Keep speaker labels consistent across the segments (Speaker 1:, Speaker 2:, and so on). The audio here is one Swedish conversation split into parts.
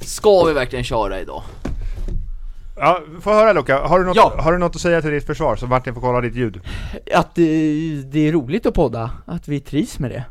Speaker 1: Ska vi verkligen köra idag?
Speaker 2: Ja, få höra Luca, har du, något,
Speaker 1: Ja.
Speaker 2: har du något att säga till ditt försvar så Martin får kolla ditt ljud?
Speaker 3: Eh. Att det, det är roligt att podda, att vi trivs med det.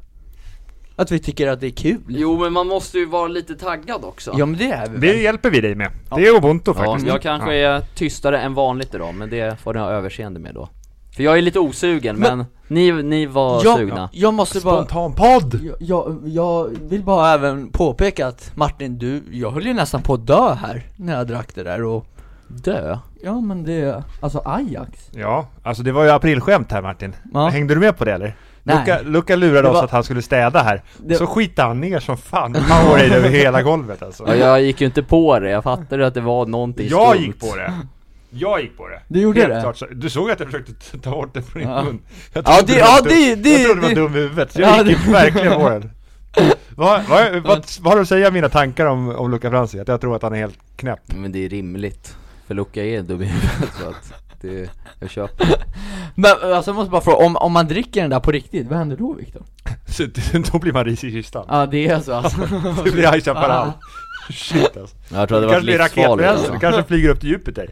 Speaker 3: Att vi tycker att det är kul.
Speaker 1: Jo men man måste ju vara lite taggad också
Speaker 3: Ja men det är vi
Speaker 2: Det
Speaker 3: väl?
Speaker 2: hjälper vi dig med. Det är ubuntu
Speaker 1: Ja,
Speaker 2: faktiskt.
Speaker 1: jag kanske är tystare än vanligt idag, men det får ni ha överseende med då För jag är lite osugen, men, ni, ni var sugna
Speaker 3: Jag, jag måste bara...
Speaker 4: Spontanpodd!
Speaker 3: Jag- Jag, jag vill bara även påpeka att Martin, du, jag höll ju nästan på att dö här när jag drack det där och
Speaker 1: Dö?
Speaker 3: Ja men det, alltså Ajax?
Speaker 2: Ja, alltså det var ju aprilskämt här Martin.
Speaker 3: Ja.
Speaker 2: Hängde du med på det eller?
Speaker 3: Nej.
Speaker 2: Luca, Luca lurade
Speaker 3: Det
Speaker 2: oss
Speaker 3: var-
Speaker 2: att han skulle städa här,
Speaker 3: Det-
Speaker 2: så skitade han ner som fan Powerade över hela golvet alltså.
Speaker 1: Ja, jag gick ju inte på det, jag fattade att det var någonting
Speaker 2: Jag
Speaker 1: skumt.
Speaker 2: gick på det! Jag gick på det!
Speaker 3: Du gjorde
Speaker 2: Helt
Speaker 3: det?
Speaker 2: Klart, så- du såg att jag försökte t- ta bort det från din
Speaker 3: Ja.
Speaker 2: mun? Jag
Speaker 3: Ja,
Speaker 2: trodde
Speaker 3: det-
Speaker 2: du
Speaker 3: ja,
Speaker 2: var
Speaker 3: det-
Speaker 2: dum-
Speaker 3: det-
Speaker 2: Jag trodde du var
Speaker 3: det-
Speaker 2: dum i huvudet, så
Speaker 3: Ja,
Speaker 2: jag gick
Speaker 3: det-
Speaker 2: verkligen på den vad, vad, vad, vad har du att säga om mina tankar om, om Luca Franzi? Att jag tror att han är helt knäpp?
Speaker 1: Men det är rimligt, för Luca är dum i huvudet så att det, jag köper
Speaker 3: Men alltså jag måste bara fråga, om, om man dricker den där på riktigt, vad händer då Viktor?
Speaker 2: Så, det- då blir man risig i kistan
Speaker 3: Ja det är så alltså
Speaker 2: Det blir High Chaparral Shit alltså
Speaker 1: Jag tror att
Speaker 2: Det
Speaker 1: det var
Speaker 2: kanske blir
Speaker 1: livsfarligt alltså.
Speaker 2: raketbränsle, det
Speaker 1: Det
Speaker 2: kanske flyger upp till Jupiter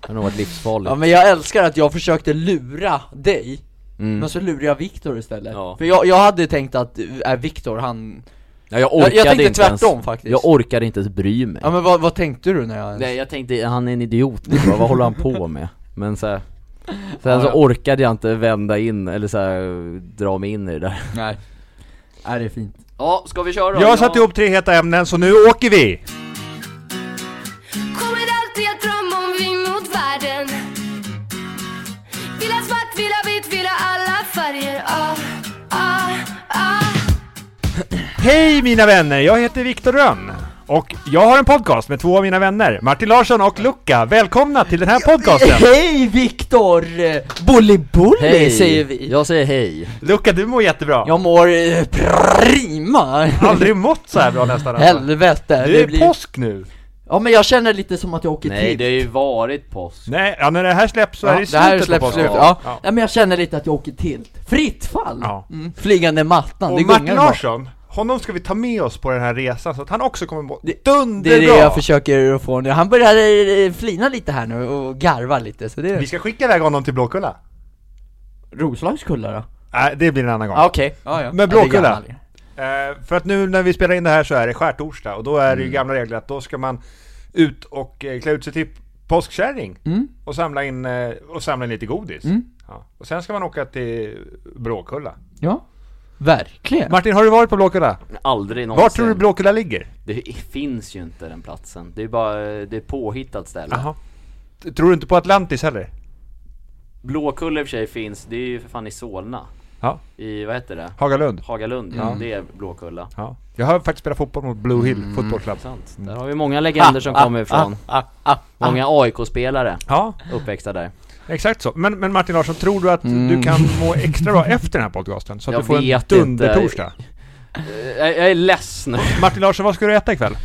Speaker 1: har nog varit livsfarligt
Speaker 3: Ja men jag älskar att jag försökte lura dig,
Speaker 1: mm.
Speaker 3: men så lurade jag Viktor istället
Speaker 1: Ja.
Speaker 3: För jag, jag hade tänkt att, äh, Viktor han,
Speaker 1: ja, jag
Speaker 3: jag,
Speaker 1: orkade
Speaker 3: jag tänkte
Speaker 1: inte ens,
Speaker 3: tvärtom faktiskt
Speaker 1: Jag orkade inte ens bry mig
Speaker 3: Ja men vad, vad tänkte du när jag ens...
Speaker 1: Nej jag tänkte, han är en idiot nu, vad, vad håller han på med? Men så här,
Speaker 3: Ja,
Speaker 1: Sen så
Speaker 3: ja.
Speaker 1: orkade jag inte vända in, eller så här, dra mig in i det där
Speaker 3: Nej Nej det är fint
Speaker 1: Ja, ska vi köra då?
Speaker 2: Jag satte ihop tre heta ämnen, så nu åker vi!
Speaker 5: Kommer alltid att drömma om vi mot världen Vill ha svart, vill ha vitt, vill ha alla färger ah, ah, ah.
Speaker 2: Hej mina vänner, jag heter Viktor Rönn och jag har en podcast med två av mina vänner, Martin Larsson och Luca. Välkomna till den här podcasten!
Speaker 3: Hej Viktor! Bolly-bolly
Speaker 1: Hej!
Speaker 3: säger vi!
Speaker 1: Jag säger hej!
Speaker 2: Luca, du mår jättebra.
Speaker 3: Jag mår eh, prima!
Speaker 2: har aldrig mått så här bra nästan. alltså.
Speaker 3: Helvete!
Speaker 2: Det är påsk nu!
Speaker 3: Ja men jag känner lite som att jag åker
Speaker 1: Nej,
Speaker 3: till
Speaker 1: det har ju varit påsk
Speaker 2: Nej, ja, när det här släpps så
Speaker 3: Ja,
Speaker 2: är det
Speaker 3: det här
Speaker 2: slutet på
Speaker 3: släpps
Speaker 2: påsken.
Speaker 3: slut, ja.
Speaker 2: Ja.
Speaker 3: Nej men jag känner lite att jag åker till Fritt fall!
Speaker 2: Ja.
Speaker 3: Mm. Flygande mattan,
Speaker 2: Och
Speaker 3: det
Speaker 2: Martin
Speaker 3: gungar bara.
Speaker 2: Larsson, honom ska vi ta med oss på den här resan så att han också kommer må
Speaker 3: Det- Det
Speaker 2: dunderbra!
Speaker 3: är det jag försöker få nu, han börjar eh, flina lite här nu och garva lite så det
Speaker 2: Vi
Speaker 3: är...
Speaker 2: ska skicka iväg honom till Blåkulla.
Speaker 3: Roslagskulla då?
Speaker 2: Nej, det blir en annan gång.
Speaker 3: Ah, okej, ja,
Speaker 2: Men
Speaker 3: ja. Ja, det är
Speaker 2: Blåkulla.
Speaker 3: gammal.
Speaker 2: Eh, för att nu när vi spelar in det här så är det skärtorsdag och då är det ju gamla regler att då ska man ut och eh, klä ut sig till påskkärring
Speaker 3: Mm.
Speaker 2: och, samla in, eh, och samla in lite godis.
Speaker 3: Mm.
Speaker 2: Ja. Och sen ska man åka till Blåkulla.
Speaker 3: Ja, verkligen!
Speaker 2: Martin, har du varit på Blåkulla?
Speaker 1: Aldrig någonsin
Speaker 2: Var tror du Blåkulla ligger?
Speaker 1: Det finns ju inte den platsen, det är bara, det är påhittat ställe
Speaker 2: T- Tror du inte på Atlantis heller?
Speaker 1: Blåkulla i och för sig finns, det är ju för fan i Solna
Speaker 2: Ja.
Speaker 1: I, vad heter det?
Speaker 2: Hagalund?
Speaker 1: Hagalund, ja. det är Blåkulla
Speaker 2: Ja. Mm. Jag har faktiskt spelat fotboll mot Blue Hill Football Club.
Speaker 1: Sant, där har vi många legender som kommer ifrån
Speaker 3: Mm. Ah, ah, ah.
Speaker 1: Många AIK-spelare
Speaker 2: Ja,
Speaker 1: uppväxta där
Speaker 2: exakt så. Men, men Martin Larsson, tror du att du kan må extra bra efter den här podcasten? Så att
Speaker 1: Jag
Speaker 2: du får en
Speaker 1: vet inte.
Speaker 2: dundertorsdag?
Speaker 1: jag, jag är less nu.
Speaker 2: Martin Larsson, vad ska du äta ikväll?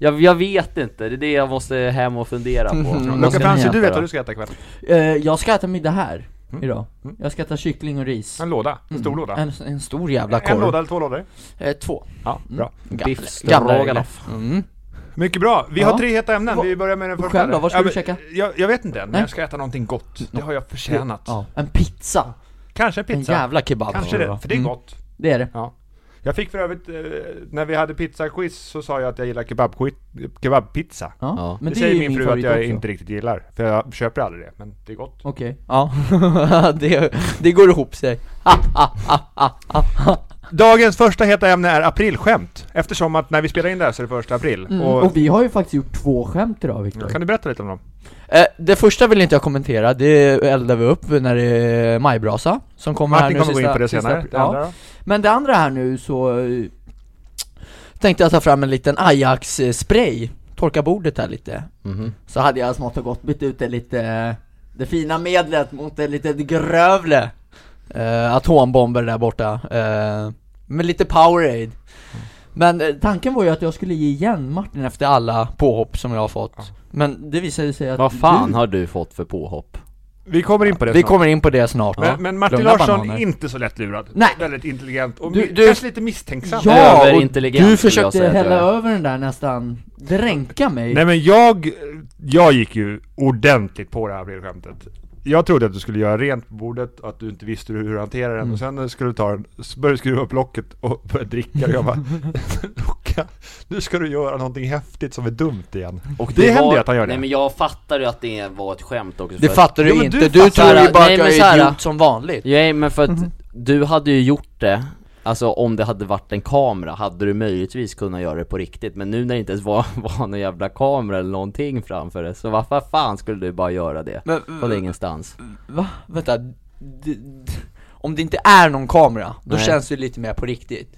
Speaker 1: Jag, jag vet inte, det är det jag måste hem och fundera på.
Speaker 3: Mm.
Speaker 1: Vad
Speaker 2: Luca
Speaker 1: ska
Speaker 2: Franzi,
Speaker 1: ni
Speaker 2: du
Speaker 1: äta
Speaker 2: vet
Speaker 1: då?
Speaker 2: vad du ska äta ikväll?
Speaker 3: Eh, jag ska äta middag här idag. Jag ska äta kyckling och ris.
Speaker 2: Mm. En låda, en stor låda.
Speaker 3: Mm. En, en stor jävla korv.
Speaker 2: En låda eller två lådor?
Speaker 3: Eh, två.
Speaker 2: Ja, bra.
Speaker 3: Gamla-
Speaker 1: Biff
Speaker 3: gamla
Speaker 1: stroganoff.
Speaker 3: regler. Mm.
Speaker 2: Mycket bra. Vi
Speaker 3: Ja.
Speaker 2: har tre heta ämnen.
Speaker 3: Va-
Speaker 2: Vi börjar med den första.
Speaker 3: Själv då? Vad ska
Speaker 2: Ja,
Speaker 3: du
Speaker 2: men
Speaker 3: käka?
Speaker 2: Jag, jag vet inte än, men
Speaker 3: Nej.
Speaker 2: jag ska äta någonting gott. Det har jag förtjänat.
Speaker 3: Ja. En pizza.
Speaker 2: Kanske en
Speaker 3: En
Speaker 2: pizza.
Speaker 3: jävla kebab.
Speaker 2: Kanske det, för det är
Speaker 3: Mm.
Speaker 2: gott.
Speaker 3: Det är det.
Speaker 2: Ja. Jag fick för övrigt, eh, när vi hade pizzaquiz så sa jag att jag gillar kebabquiz- kebabpizza.
Speaker 3: Ja.
Speaker 1: Ja.
Speaker 3: Men
Speaker 2: det
Speaker 3: det,
Speaker 2: säger
Speaker 3: är ju
Speaker 2: min
Speaker 3: min
Speaker 2: fru att
Speaker 3: favorit
Speaker 2: jag
Speaker 3: också.
Speaker 2: inte riktigt gillar, för jag köper aldrig det, men det är gott.
Speaker 3: Okej. Ja. det, det går ihop sig. Ah, ah, ah, ah, ah, ah.
Speaker 2: Dagens första heta ämne är aprilskämt, eftersom att när vi spelar in det här så är det första april.
Speaker 3: Mm.
Speaker 2: Och,
Speaker 3: Och, vi har ju faktiskt gjort två skämt idag Viktor.
Speaker 2: kan du berätta lite om dem?
Speaker 3: Eh, det första vill inte jag kommentera, det eldar vi upp när det är majbrasa som kommer här
Speaker 2: Martin
Speaker 3: nu
Speaker 2: kommer gå
Speaker 3: sista-
Speaker 2: in på det
Speaker 3: sista
Speaker 2: senare.
Speaker 3: april.
Speaker 2: Det
Speaker 3: Ja.
Speaker 2: andra då?
Speaker 3: Men det andra här nu så eh, tänkte jag ta fram en liten Ajax-spray, torka bordet här lite.
Speaker 1: Mhm.
Speaker 3: Så hade jag smått och gott bytt ut det lite, det fina medlet mot det lite grövre eh, atombomber där borta, eh, med lite Powerade. Men eh, tanken var ju att jag skulle ge igen Martin efter alla påhopp som jag har fått. Men det visade sig att
Speaker 1: Vad fan
Speaker 3: du...
Speaker 1: har du fått för påhopp?
Speaker 2: Vi kommer in på det
Speaker 3: Vi
Speaker 2: snart.
Speaker 3: kommer in på det snart.
Speaker 2: Men, men Martin
Speaker 3: Lugna
Speaker 2: Larsson,
Speaker 3: bananer.
Speaker 2: inte så lättlurad.
Speaker 3: Nej.
Speaker 2: Väldigt intelligent och
Speaker 3: Du-
Speaker 2: mi-
Speaker 3: du-
Speaker 2: kanske lite misstänksam.
Speaker 3: Ja, och
Speaker 1: Överintelligent
Speaker 3: du
Speaker 1: skulle jag
Speaker 3: försökte
Speaker 1: säga att jag
Speaker 3: hälla
Speaker 1: är.
Speaker 3: över den där nästan, dränka mig.
Speaker 2: Nej men jag, jag gick ju ordentligt på det här brevskämtet. Jag trodde att du skulle göra rent på bordet, att du inte visste hur du hanterar den och sen skulle du ta den, s- började du skruva upp locket och börja dricka och jag bara Luca, nu ska du göra någonting häftigt som är dumt igen.
Speaker 1: Och
Speaker 2: det händer
Speaker 1: var-
Speaker 2: ju att han gör det.
Speaker 1: Nej men jag fattar ju att det var ett skämt också
Speaker 3: Det
Speaker 1: för-
Speaker 3: fattar du
Speaker 2: Jo, men
Speaker 3: inte,
Speaker 2: du
Speaker 3: du,
Speaker 2: fattar-
Speaker 3: tror ju bara
Speaker 1: Nej,
Speaker 3: att
Speaker 1: men
Speaker 3: jag
Speaker 1: så
Speaker 3: är
Speaker 1: här-
Speaker 3: idiot som vanligt
Speaker 1: Nej men för att du hade ju gjort det Alltså om det hade varit en kamera hade du möjligtvis kunnat göra det på riktigt Men nu när det inte ens var, var någon jävla kamera eller någonting framför det Så varför fan skulle du bara göra det?
Speaker 3: Men,
Speaker 1: Från ingenstans
Speaker 3: va? Vänta, d- d- om det inte är någon kamera, då
Speaker 1: Nej.
Speaker 3: känns det lite mer på riktigt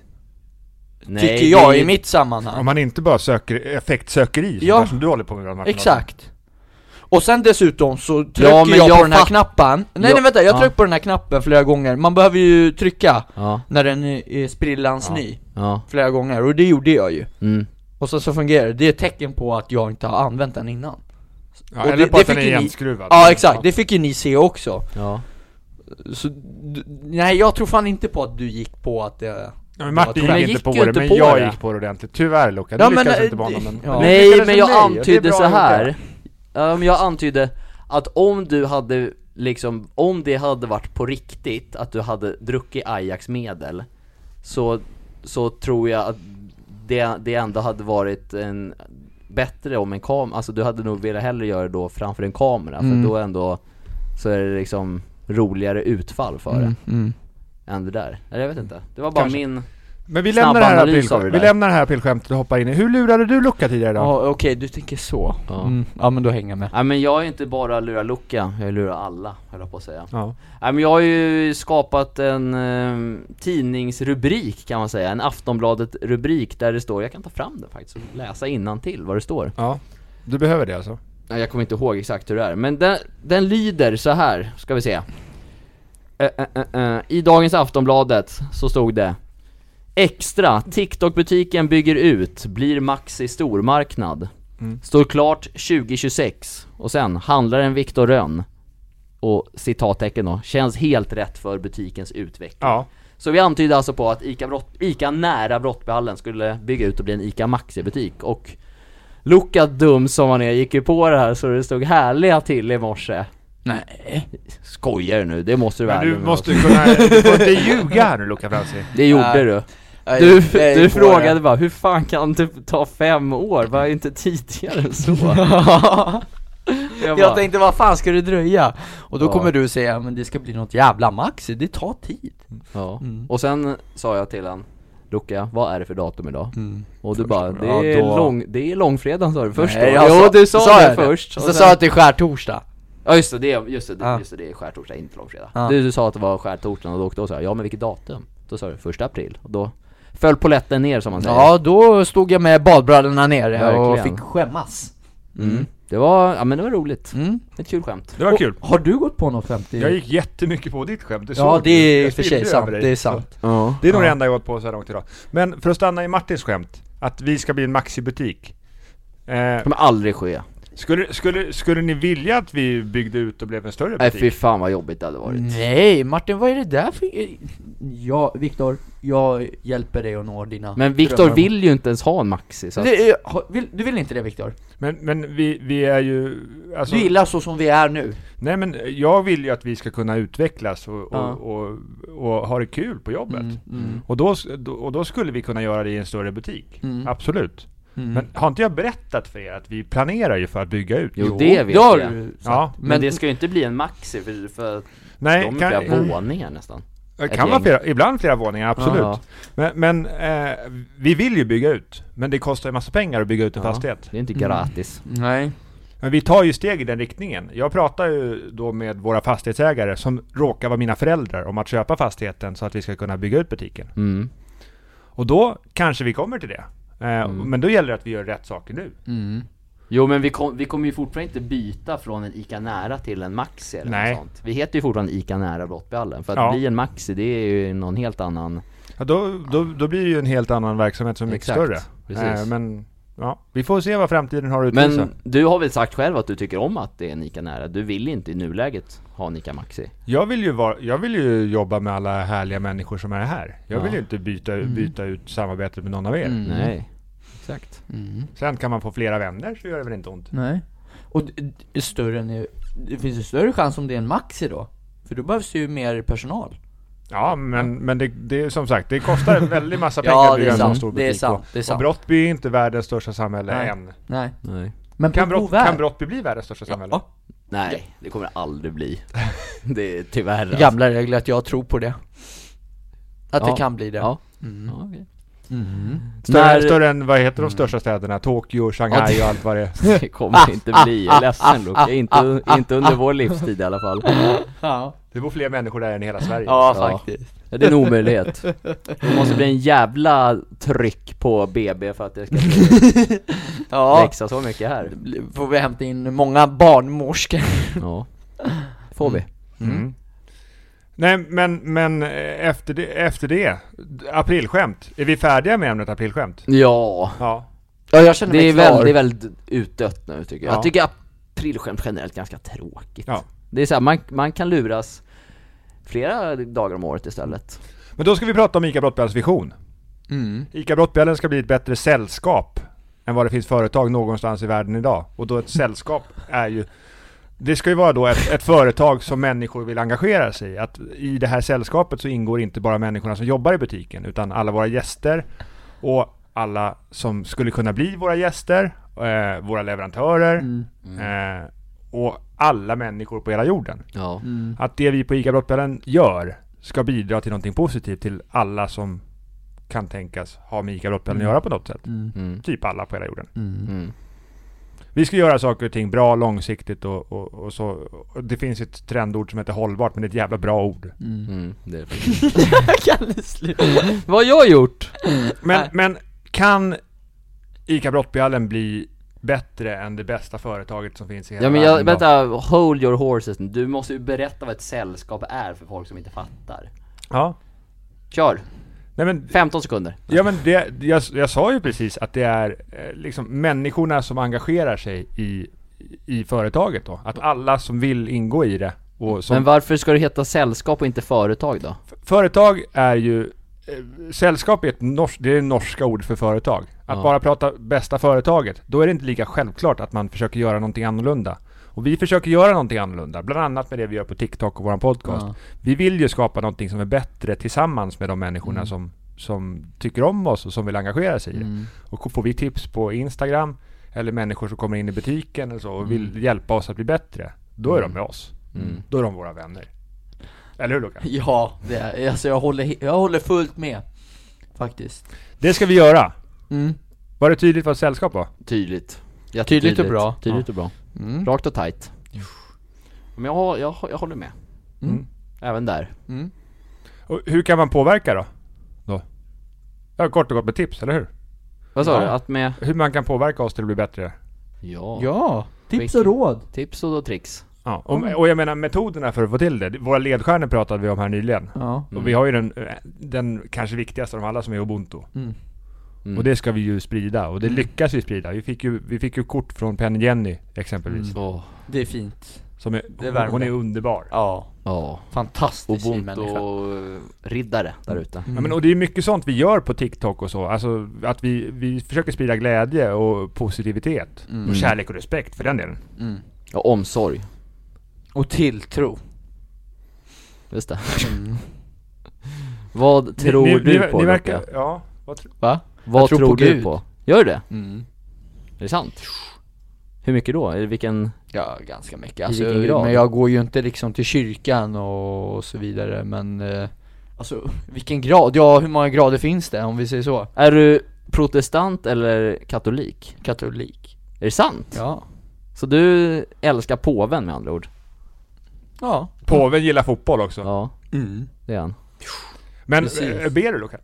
Speaker 1: Nej,
Speaker 3: Tycker jag
Speaker 1: det är-
Speaker 3: i mitt sammanhang
Speaker 2: Om man inte bara söker effektsökeri,
Speaker 3: Ja.
Speaker 2: ja. som du håller på med Martin
Speaker 3: Exakt Och sen dessutom så trycker
Speaker 1: Ja, men
Speaker 3: jag,
Speaker 1: jag
Speaker 3: på den här
Speaker 1: fatt-
Speaker 3: knappen Nej
Speaker 1: Ja,
Speaker 3: nej vänta, jag
Speaker 1: ja.
Speaker 3: trycker på den här knappen flera gånger, man behöver ju trycka
Speaker 1: Ja,
Speaker 3: när den är är sprillans
Speaker 1: Ja.
Speaker 3: ny
Speaker 1: ja,
Speaker 3: flera gånger, och det gjorde jag ju
Speaker 1: mm.
Speaker 3: Och sen så fungerar det, det är ett tecken på att jag inte har använt den innan
Speaker 2: Ja,
Speaker 3: Och
Speaker 2: eller
Speaker 3: det-
Speaker 2: på
Speaker 3: det
Speaker 2: att den är
Speaker 3: fick ju ni-
Speaker 2: igenskruvad.
Speaker 3: Ja exakt, det fick ju ni se också
Speaker 1: ja
Speaker 3: Så, d- nej jag tror fan inte på att du gick på att det...
Speaker 2: Ja, men Martin
Speaker 3: Jag
Speaker 2: gick
Speaker 1: gick
Speaker 2: inte på
Speaker 1: ju
Speaker 2: det,
Speaker 1: inte
Speaker 2: men
Speaker 1: på
Speaker 2: jag
Speaker 1: det.
Speaker 2: gick på det ordentligt. Tyvärr Luca, du
Speaker 3: Ja,
Speaker 2: lyckades
Speaker 3: men,
Speaker 2: inte
Speaker 3: eh,
Speaker 2: med honom.
Speaker 3: ja.
Speaker 2: du
Speaker 1: Nej
Speaker 2: lyckades
Speaker 1: men
Speaker 2: med
Speaker 1: jag
Speaker 2: mig, och det är
Speaker 1: antydde
Speaker 2: bra
Speaker 1: så
Speaker 2: gjort,
Speaker 1: här. Ja, men jag antydde att om du hade liksom, om det hade varit på riktigt att du hade druckit Ajax medel Så, så tror jag att det, det ändå hade varit en bättre om en kamera, alltså du hade nog velat hellre göra det då framför en kamera
Speaker 3: Mm.
Speaker 1: för då ändå så är det liksom roligare utfall för det än det där. Eller jag vet inte, det var bara
Speaker 2: Mm. Kanske.
Speaker 1: min...
Speaker 2: Men vi
Speaker 1: Snabb
Speaker 2: lämnar, det här
Speaker 1: analys av
Speaker 2: aprilskämt,
Speaker 1: det
Speaker 2: vi
Speaker 1: där.
Speaker 2: lämnar det här aprilskämtet och hoppar in i... Hur lurade du Luca tidigare idag?
Speaker 3: Ja okej, du tänker så.
Speaker 1: Ja.
Speaker 3: Mm. ja men då hänger jag med.
Speaker 1: Nej men jag är inte bara lura Luca, jag lurar alla höll jag på att säga.
Speaker 2: Ja.
Speaker 1: Nej men jag har ju skapat en eh, tidningsrubrik kan man säga, en Aftonbladet-rubrik där det står, jag kan ta fram den faktiskt och läsa till vad det står.
Speaker 2: ja. Du behöver det alltså?
Speaker 1: Nej, Jag kommer inte ihåg exakt hur det är, men den, den lyder så här ska vi se. Eh, eh, eh, eh. I dagens Aftonbladet så stod det Extra, TikTok-butiken bygger ut, blir Maxi stormarknad. Står klart 2026. Och sen, handlaren Viktor Rönn. Och citattecken då, känns helt rätt för butikens utveckling.
Speaker 2: Ja.
Speaker 1: Så vi antyder alltså på att ICA, brott, ICA nära Brottbyhallen skulle bygga ut och bli en ICA Maxi-butik och Luca dum som han är gick ju på det här så det stod härliga till i morse
Speaker 3: Nej.
Speaker 1: Skojar du nu? Det måste du vara
Speaker 2: Men
Speaker 1: ärlig
Speaker 2: du
Speaker 1: med
Speaker 2: måste
Speaker 1: oss.
Speaker 2: kunna... Du får inte ljuga här nu Luca Franzi.
Speaker 1: Det gjorde
Speaker 3: Nej.
Speaker 1: du! Du, du frågade bara hur fan kan det ta fem år? Var inte tidigare än så? Jag bara,
Speaker 3: Jag tänkte vad fan ska det dröja? Och då
Speaker 1: Ja.
Speaker 3: kommer du säga, men det ska bli något jävla maxi, det tar tid.
Speaker 1: ja.
Speaker 3: Mm.
Speaker 1: Och sen sa jag till han Luca, vad är det för datum idag?
Speaker 3: Mm.
Speaker 1: Och du bara, det
Speaker 3: Ja,
Speaker 1: är,
Speaker 3: då-
Speaker 1: lång, det är långfredagen sa du först
Speaker 3: Nej,
Speaker 1: då.
Speaker 3: jag
Speaker 1: Jo
Speaker 3: sa-
Speaker 1: du sa,
Speaker 3: sa
Speaker 1: det
Speaker 3: jag det.
Speaker 1: först
Speaker 3: Så
Speaker 1: Och
Speaker 3: jag
Speaker 1: sen-
Speaker 3: sa att det är skärtorsdag.
Speaker 1: Ja just det, det, är- just det, det,
Speaker 3: Ja.
Speaker 1: just det, det är skärtorsdag, inte långfredag.
Speaker 3: Ja.
Speaker 1: Du, du sa att det var skärtorsdagen och då, då sa jag, ja men vilket datum? Då sa du första april, och då föll poletten ner som man säger.
Speaker 3: Ja, då stod jag med badbrallorna nere och
Speaker 1: Verkligen.
Speaker 3: fick skämmas.
Speaker 1: Mm. Det var, ja men det var roligt.
Speaker 3: Mm.
Speaker 1: Ett kul skämt.
Speaker 2: Det var kul.
Speaker 3: Har du gått på något 50?
Speaker 2: Jag gick jättemycket på ditt skämt, det
Speaker 3: ja
Speaker 2: såg
Speaker 3: det
Speaker 2: du.
Speaker 3: är i
Speaker 2: Jag
Speaker 3: och för
Speaker 2: spillde
Speaker 3: sig
Speaker 2: över
Speaker 3: sant,
Speaker 2: dig.
Speaker 3: det är sant.
Speaker 1: Ja.
Speaker 2: Det är nog
Speaker 3: Ja.
Speaker 2: det enda jag gått på så här långt idag. Men för att stanna i Martins skämt, att vi ska bli en Maxi-butik. Eh,
Speaker 1: Det kommer aldrig ske.
Speaker 2: skulle, skulle, skulle ni vilja att vi byggde ut och blev en större
Speaker 1: Nej
Speaker 2: butik?
Speaker 1: fy fan vad jobbigt det hade
Speaker 3: Mm.
Speaker 1: varit.
Speaker 3: Nej Martin, vad är det där för... Ja, Viktor, jag hjälper dig att nå dina
Speaker 1: Men Viktor
Speaker 3: drömmar.
Speaker 1: vill ju inte ens ha en Maxi så att,
Speaker 3: Det är- ha- vill- Du vill inte det Viktor?
Speaker 2: Men, men vi, vi är ju... Alltså,
Speaker 3: Du gillar så som vi är nu?
Speaker 2: Nej men jag vill ju att vi ska kunna utvecklas och, och,
Speaker 3: Ja.
Speaker 2: och, och ha det kul på jobbet.
Speaker 1: Mm,
Speaker 2: Och, då, s- då- och då skulle vi kunna göra det i en större butik.
Speaker 3: Mm.
Speaker 2: Absolut.
Speaker 3: Mm.
Speaker 2: Men har inte jag berättat för er att vi planerar ju för att bygga ut?
Speaker 1: jo, det vet
Speaker 3: det har
Speaker 1: jag.
Speaker 3: du sagt.
Speaker 2: Ja.
Speaker 1: Men,
Speaker 3: Men-
Speaker 1: det ska ju inte bli en Maxi för, för att
Speaker 2: Nej,
Speaker 1: de är
Speaker 2: kan,
Speaker 1: flera våningar nästan.
Speaker 2: det
Speaker 1: ett
Speaker 2: kan vara
Speaker 1: gäng.
Speaker 2: flera, ibland flera våningar, absolut.
Speaker 1: Ja,
Speaker 2: Men, men eh, vi vill ju bygga ut. Men det kostar ju massa pengar att bygga ut en
Speaker 1: Ja.
Speaker 2: fastighet.
Speaker 1: Det är inte
Speaker 3: Mm.
Speaker 1: gratis.
Speaker 3: Nej.
Speaker 2: Men vi tar ju steg i den riktningen. Jag pratar ju då med våra fastighetsägare som råkar vara mina föräldrar om att köpa fastigheten så att vi ska kunna bygga ut butiken.
Speaker 1: Mm.
Speaker 2: Och då kanske vi kommer till det. Eh,
Speaker 1: Mm.
Speaker 2: Men då gäller det att vi gör rätt saker nu.
Speaker 3: Mm.
Speaker 1: Jo men vi, kom, vi kommer ju fortfarande inte byta från en ICA Nära till en Maxi eller
Speaker 2: Nej.
Speaker 1: något sånt. Vi heter ju fortfarande ICA Nära Brottbyhallen, för att
Speaker 2: Ja.
Speaker 1: bli en Maxi det är ju någon helt annan...
Speaker 2: Ja, då, då, då blir det ju en helt annan verksamhet som är mycket
Speaker 1: Exakt,
Speaker 2: större. Eh,
Speaker 1: precis.
Speaker 2: men Ja, vi får se vad framtiden har att utvisa.
Speaker 1: Men du har väl sagt själv att du tycker om att det är Nika Nära? Du vill inte i nuläget ha Nika Maxi?
Speaker 2: Jag vill, ju vara, jag vill ju jobba med alla härliga människor som är här. Jag vill
Speaker 1: Ja.
Speaker 2: ju inte byta,
Speaker 3: Mm.
Speaker 2: byta ut samarbetet med någon av er.
Speaker 3: Mm.
Speaker 1: Nej, exakt
Speaker 3: Mm.
Speaker 2: Sen kan man få flera vänner så gör det väl inte ont.
Speaker 3: Nej. Och d- d- större än, det finns ju större chans om det är en maxi då. För då behövs det ju mer personal.
Speaker 2: Ja, men, men det, det är som sagt, det kostar en väldig massa pengar
Speaker 3: Ja,
Speaker 2: att
Speaker 3: det
Speaker 2: bygga
Speaker 3: är
Speaker 2: en sån
Speaker 3: sant.
Speaker 2: stor butik.
Speaker 3: Det är sant.
Speaker 2: och-
Speaker 3: Det är
Speaker 2: Och
Speaker 3: sant.
Speaker 2: Brottby är inte världens största samhälle
Speaker 3: Nej.
Speaker 2: än.
Speaker 3: Nej.
Speaker 1: Nej
Speaker 3: Men
Speaker 2: Kan,
Speaker 3: på
Speaker 2: brott,
Speaker 3: provvärd.
Speaker 2: kan Brottby bli världens största samhälle?
Speaker 3: Ja.
Speaker 1: Nej, det kommer det aldrig bli Det är tyvärr alltså.
Speaker 3: Gamla regler att jag tror på det. Att
Speaker 1: Ja.
Speaker 3: det kan bli det.
Speaker 1: Ja.
Speaker 3: Mm.
Speaker 1: Ja, okej.
Speaker 2: Större,
Speaker 1: När-
Speaker 2: större än, vad heter de största städerna? Tokyo,
Speaker 1: Ja,
Speaker 2: Shanghai
Speaker 1: det-
Speaker 2: och allt vad det är.
Speaker 1: Det kommer inte bli, jag är ledsen Luke. Inte, inte under vår livstid i alla fall
Speaker 3: Ja.
Speaker 2: Det bor fler människor där än i hela Sverige.
Speaker 3: ja,
Speaker 1: Ja.
Speaker 3: faktiskt.
Speaker 1: Ja, Det är en omöjlighet. Det måste bli en jävla tryck på BB för att det ska
Speaker 3: Ja.
Speaker 1: växa så mycket här.
Speaker 3: Får vi hämta in många barnmorskor?
Speaker 1: Ja. Får vi.
Speaker 2: Mm. Nej, men, men eh, efter det, efter det d- aprilskämt. Är vi färdiga med ämnet aprilskämt?
Speaker 1: Ja.
Speaker 2: Ja.
Speaker 3: Ja, jag känner
Speaker 1: Det
Speaker 3: mig
Speaker 1: är,
Speaker 3: klar.
Speaker 1: väl, det är väldigt utdött nu tycker jag.
Speaker 2: Ja.
Speaker 1: Jag tycker aprilskämt generellt ganska tråkigt.
Speaker 2: Ja.
Speaker 1: Det är så här, man, man kan luras flera dagar om året istället.
Speaker 2: Men då ska vi prata om ICA Brottbjälls vision.
Speaker 3: Mm.
Speaker 2: ICA Brottbjällen ska bli ett bättre sällskap än vad det finns företag någonstans i världen idag. Och då ett sällskap är ju... Det ska ju vara då ett, ett företag som människor vill engagera sig i. Att i det här sällskapet så ingår inte bara människorna som jobbar i butiken, utan alla våra gäster och alla som skulle kunna bli våra gäster, eh, våra leverantörer eh, och alla människor på hela jorden.
Speaker 1: Ja.
Speaker 2: Att det vi på ICA Brottbjällen gör ska bidra till någonting positivt till alla som kan tänkas ha med ICA Brottbjällen att göra på något sätt.
Speaker 1: Mm.
Speaker 2: Typ alla på hela jorden.
Speaker 1: Mm.
Speaker 2: Vi ska göra saker och ting bra, långsiktigt och, och, och så. Och det finns ett trendord som heter hållbart, men det är ett jävla bra ord.
Speaker 1: Mm. Det är
Speaker 3: Kalle, sluta.
Speaker 1: Vad har jag gjort?
Speaker 2: Men,
Speaker 3: Nej.
Speaker 2: men kan ICA Brottbjällen bli bättre än det bästa företaget som finns i hela
Speaker 1: Ja men
Speaker 2: världen
Speaker 1: jag,
Speaker 2: idag?
Speaker 1: vänta, hold your horses Du måste ju berätta vad ett sällskap är för folk som inte fattar.
Speaker 2: Ja.
Speaker 1: Kör!
Speaker 2: Nej, men
Speaker 1: 15 sekunder.
Speaker 2: Ja men det, jag, jag sa ju precis att det är eh, liksom människorna som engagerar sig i, i företaget då. Att alla som vill ingå i det. Och som,
Speaker 1: Men varför ska det heta sällskap och inte företag då?
Speaker 2: företag är ju... eh, Sällskap är ett nors, det är det norska ord för företag. Att
Speaker 1: Ja.
Speaker 2: bara prata bästa företaget, då är det inte lika självklart att man försöker göra någonting annorlunda. Och vi försöker göra någonting annorlunda, bland annat med det vi gör på TikTok och vår podcast.
Speaker 3: Ja.
Speaker 2: Vi vill ju skapa någonting som är bättre tillsammans med de människorna som, som tycker om oss och som vill engagera sig i det. Och får vi tips på Instagram eller människor som kommer in i butiken eller så och vill hjälpa oss att bli bättre, då är de med oss. Då är de våra vänner. Eller hur Lukas?
Speaker 3: Ja, det är, alltså jag håller, he- jag håller fullt med. Faktiskt.
Speaker 2: Det ska vi göra!
Speaker 3: Mm.
Speaker 2: Var det tydligt vad ett sällskap var?
Speaker 1: Tydligt.
Speaker 3: Tydligt och bra.
Speaker 1: Tydligt och bra.
Speaker 3: Mm.
Speaker 1: Rakt och tight. Men jag, har- jag, har- jag håller med.
Speaker 3: Mm.
Speaker 1: Även där.
Speaker 3: Mm.
Speaker 2: Och hur kan man påverka då? då? Ja, kort och gott med tips, eller hur?
Speaker 1: Vad sa
Speaker 2: Ja.
Speaker 1: du? Att med...
Speaker 2: Hur man kan påverka oss till att bli bättre.
Speaker 1: Ja.
Speaker 3: Ja, tips
Speaker 1: Vilket-
Speaker 3: och råd.
Speaker 1: Tips och tricks.
Speaker 2: Ja. Mm. Och, och jag menar metoderna för att få till det. Våra ledstjärnor pratade vi om här nyligen.
Speaker 3: Ja.
Speaker 2: Och vi har ju den, eh, den kanske viktigaste av alla som är Ubuntu.
Speaker 3: Mm.
Speaker 1: Mm.
Speaker 2: Och det ska vi ju sprida och det lyckas vi sprida. Vi fick ju, vi fick ju kort från Penny Jenny exempelvis.
Speaker 1: Åh.
Speaker 3: Det är fint.
Speaker 2: Som är,
Speaker 3: Mm. Det värmer.
Speaker 2: hon är underbar.
Speaker 3: Ja.
Speaker 1: Ja.
Speaker 3: Fantastisk fin människa.
Speaker 1: Ubuntu-riddare där ute.
Speaker 3: Mm.
Speaker 2: Ja, men, och det är mycket sånt vi gör på TikTok och så. Alltså att vi, vi försöker sprida glädje och positivitet.
Speaker 1: Mm.
Speaker 2: Och kärlek och respekt för den delen.
Speaker 1: Och omsorg.
Speaker 3: Och tilltro.
Speaker 1: Just det. Vad tror
Speaker 2: ni, ni,
Speaker 1: du
Speaker 2: ni,
Speaker 1: på
Speaker 2: ni
Speaker 1: Luca?
Speaker 2: verkar, Ja, vad tror
Speaker 3: Va?
Speaker 1: Vad
Speaker 3: Jag
Speaker 1: tror,
Speaker 3: tror på
Speaker 1: du
Speaker 3: Gud.
Speaker 1: på? Gör du det?
Speaker 3: Mm.
Speaker 1: Är det sant? Hur mycket då? Eller vilken...
Speaker 3: Ja, ganska mycket. Alltså,
Speaker 1: vilken grad?
Speaker 3: men jag går ju inte liksom till kyrkan och, och så vidare, men eh, Alltså, vilken grad? Ja, hur många grader finns det om vi säger så?
Speaker 1: Är du protestant eller katolik?
Speaker 3: Katolik.
Speaker 1: Är det sant?
Speaker 3: Ja.
Speaker 1: Så du älskar påven med andra ord?
Speaker 3: Ja.
Speaker 2: Påven gillar fotboll också.
Speaker 1: Ja,
Speaker 3: Mm.
Speaker 1: det är han.
Speaker 2: men
Speaker 3: precis.
Speaker 2: äh, ber du Luca?